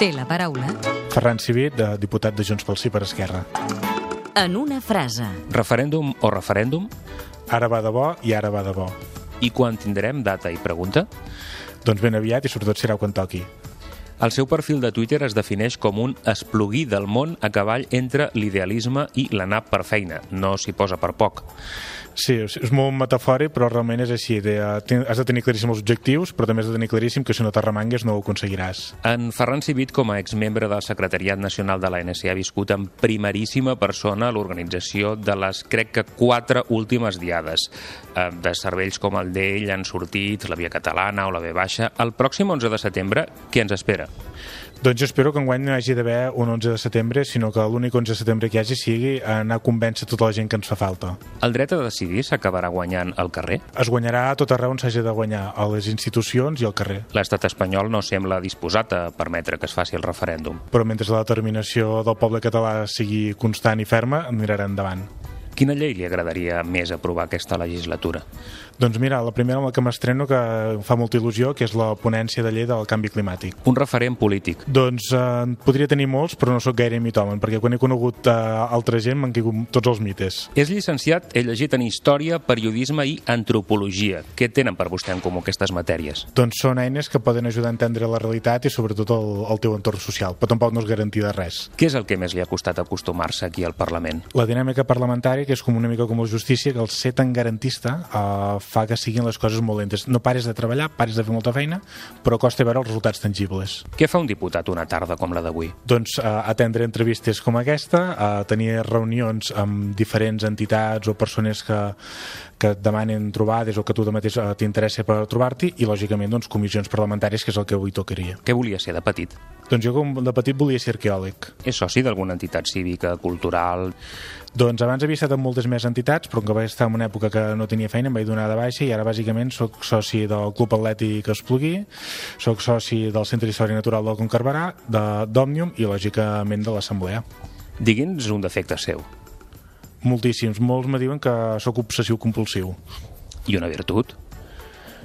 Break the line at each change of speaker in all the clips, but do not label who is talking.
Té la paraula
Ferran Civit, de diputat de Junts pel Sí per Esquerra.
en una frase.
Referèndum o referèndum?
Ara va de bo i ara va de bo.
I quan tindrem data i pregunta?
Doncs ben aviat i sobretot serà quan toqui.
El seu perfil de Twitter es defineix com un esplugui del món a cavall entre l'idealisme i l'anar per feina. No s'hi posa per poc.
Sí, és és molt metafòric, però realment és així. De, eh, ten- has de tenir claríssim els objectius, però també has de tenir claríssim que si no t'arremangues no ho aconseguiràs.
En Ferran Civit, com a exmembre del Secretariat Nacional de l'ANC, ha viscut en primeríssima persona l'organització de les, crec que, quatre últimes diades. Eh, De cervells com el d'ell han sortit la Via Catalana o la V Baixa. El pròxim 11 de setembre, què ens espera?
Doncs jo espero que enguany no hi hagi d'haver un 11 de setembre, sinó que l'únic 11 de setembre que hi hagi sigui anar a convèncer tota la gent que ens fa falta.
El dret a decidir s'acabarà guanyant al carrer?
Es guanyarà a tot arreu on s'hagi de guanyar, a les institucions i al carrer.
L'estat espanyol no sembla disposat a permetre que es faci el referèndum.
Però mentre la determinació del poble català sigui constant i ferma, anirà endavant.
Quina llei li agradaria més aprovar aquesta legislatura?
Doncs mira, la primera amb la que m'estreno que em fa molta il·lusió, que és la ponència de llei del canvi climàtic.
Un referent polític.
Doncs eh, en podria tenir molts, però no sóc gaire mitomen, perquè quan he conegut eh, altra gent m'han caigut tots els mites.
És llicenciat, he llegit en Història, Periodisme i Antropologia. Què tenen per vostè en comú aquestes matèries?
Doncs són eines que poden ajudar a entendre la realitat i sobretot el, el teu entorn social, però tampoc no és garantir de res.
Què és el que més li ha costat acostumar-se aquí al Parlament?
La dinàmica parlamentària, que és com una mica com la justícia, que el ser tan garantista eh, fa que siguin les coses molt lentes. No pares de treballar, pares de fer molta feina, però costa veure els resultats tangibles.
Què fa un diputat una tarda com la d'avui?
Doncs eh, atendre entrevistes com aquesta, eh, tenir reunions amb diferents entitats o persones que, que et demanen trobades o que tu de mateix eh, t'interessa per trobar-t'hi i, lògicament, doncs, comissions parlamentàries, que és el que avui tocaria.
Què volia ser de petit?
Doncs jo, com de petit, volia ser arqueòleg.
És soci d'alguna entitat cívica, cultural...
Doncs abans havia estat en moltes més entitats, però que vaig estar en una època que no tenia feina, em vaig donar de baixa i ara bàsicament sóc soci del Club Atlètic Esplugui, sóc soci del Centre d'Història Natural del Concarberà, de d'Òmnium i, lògicament, de l'Assemblea.
Digui'ns un defecte seu
Moltíssims. Molts me diuen que sóc obsessiu-compulsiu.
i una virtut.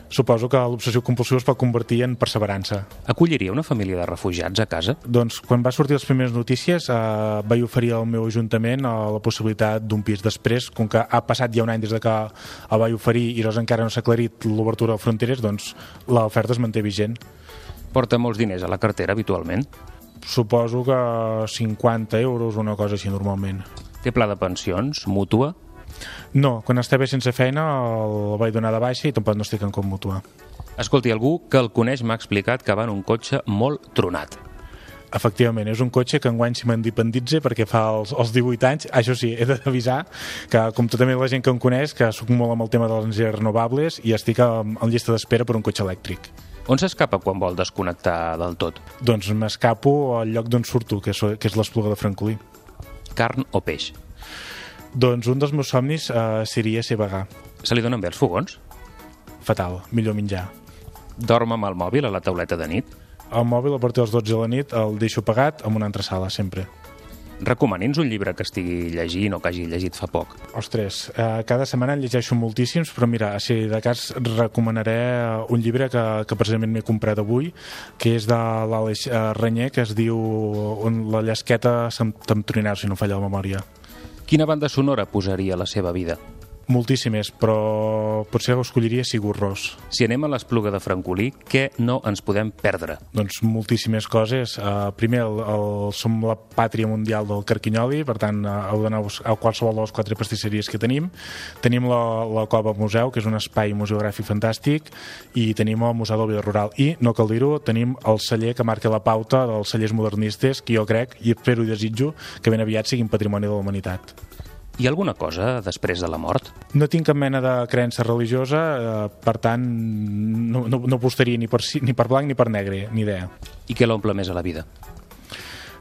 Suposo que l'obsessiu-compulsiu es pot convertir en perseverança.
Acolliria una família de refugiats a casa?
Doncs quan va sortir les primeres notícies eh, vaig oferir al meu ajuntament eh, la possibilitat d'un pis després, com que ha passat ja un any des de que el vaig oferir i llavors encara no s'ha aclarit l'obertura de fronteres, doncs l'oferta es manté vigent.
Porta molts diners a la cartera habitualment?
Suposo que 50 euros o una cosa així normalment.
Té pla de pensions, mútua?
No, quan estava sense feina el vaig donar de baixa i tampoc no estic en com mutuar.
Escolti, algú que el coneix m'ha explicat que va en un cotxe molt tronat.
Efectivament, és un cotxe que enguany s'independitza perquè fa els, els 18 anys. Això sí, he d'avisar que, com tota la gent que em coneix, que sóc molt amb el tema de les energies renovables i estic en, en llista d'espera per un cotxe elèctric.
On s'escapa quan vol desconnectar del tot?
Doncs m'escapo al lloc d'on surto, que és, que és l'Espluga de Francolí.
Carn o peix?
Doncs un dels meus somnis eh, seria ser vegà.
Se li donen bé els fogons?
Fatal, millor menjar.
Dorm amb el mòbil a la tauleta de nit?
El mòbil a partir dels 12 de la nit el deixo pagat amb una entresala, sempre.
Recomani'ns un llibre que estigui llegint o que hagi llegit fa poc.
Ostres, eh, cada setmana en llegeixo moltíssims, però mira, si de cas recomanaré eh, un llibre que, que precisament m'he comprat avui, que és de l'Aleix eh, Renyer, que es diu on La llesqueta s'emtrineu, si no em falla la memòria.
Quina banda sonora posaria a la seva vida?
Moltíssimes, però potser escolliria Sigur Ros.
Si anem a l'espluga de Francolí, què no ens podem perdre?
Doncs moltíssimes coses. Uh, primer, el, el, som la pàtria mundial del carquinyoli, per tant, eh, heu d'anar a bus- a qualsevol de les quatre pastisseries que tenim. Tenim la, la Cova Museu, que és un espai museogràfic fantàstic, i tenim el Museu del Vida Rural. I, no cal dir-ho, tenim el celler que marca la pauta dels cellers modernistes, que jo crec, i espero i desitjo, que ben aviat siguin patrimoni de la humanitat.
Hi ha alguna cosa després de la mort?
No tinc cap mena de creença religiosa, eh, per tant, no, no, no apostaria ni per, ci- ni per blanc ni per negre, ni idea.
I què l'omple més a la vida?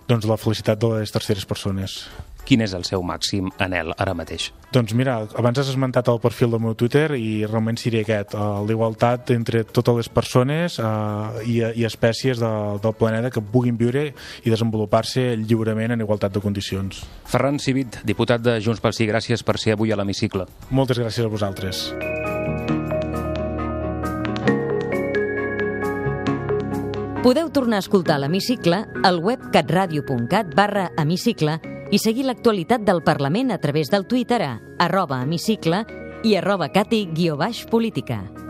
Doncs la felicitat de les terceres persones.
Quin és el seu màxim anel ara mateix?
Doncs mira, abans has esmentat el perfil del meu Twitter i realment seria aquest, eh, la igualtat entre totes les persones eh, i, i espècies de, del planeta que puguin viure i desenvolupar-se lliurement en igualtat de condicions.
Ferran Civit, diputat de Junts pel Sí, gràcies per ser avui a l'hemicicle.
Moltes gràcies a vosaltres.
Podeu tornar a escoltar l'Hemicicle al web catradio.cat barra hemicicle i seguir l'actualitat del Parlament a través del Twitter a arroba hemicicle i arroba cati-política.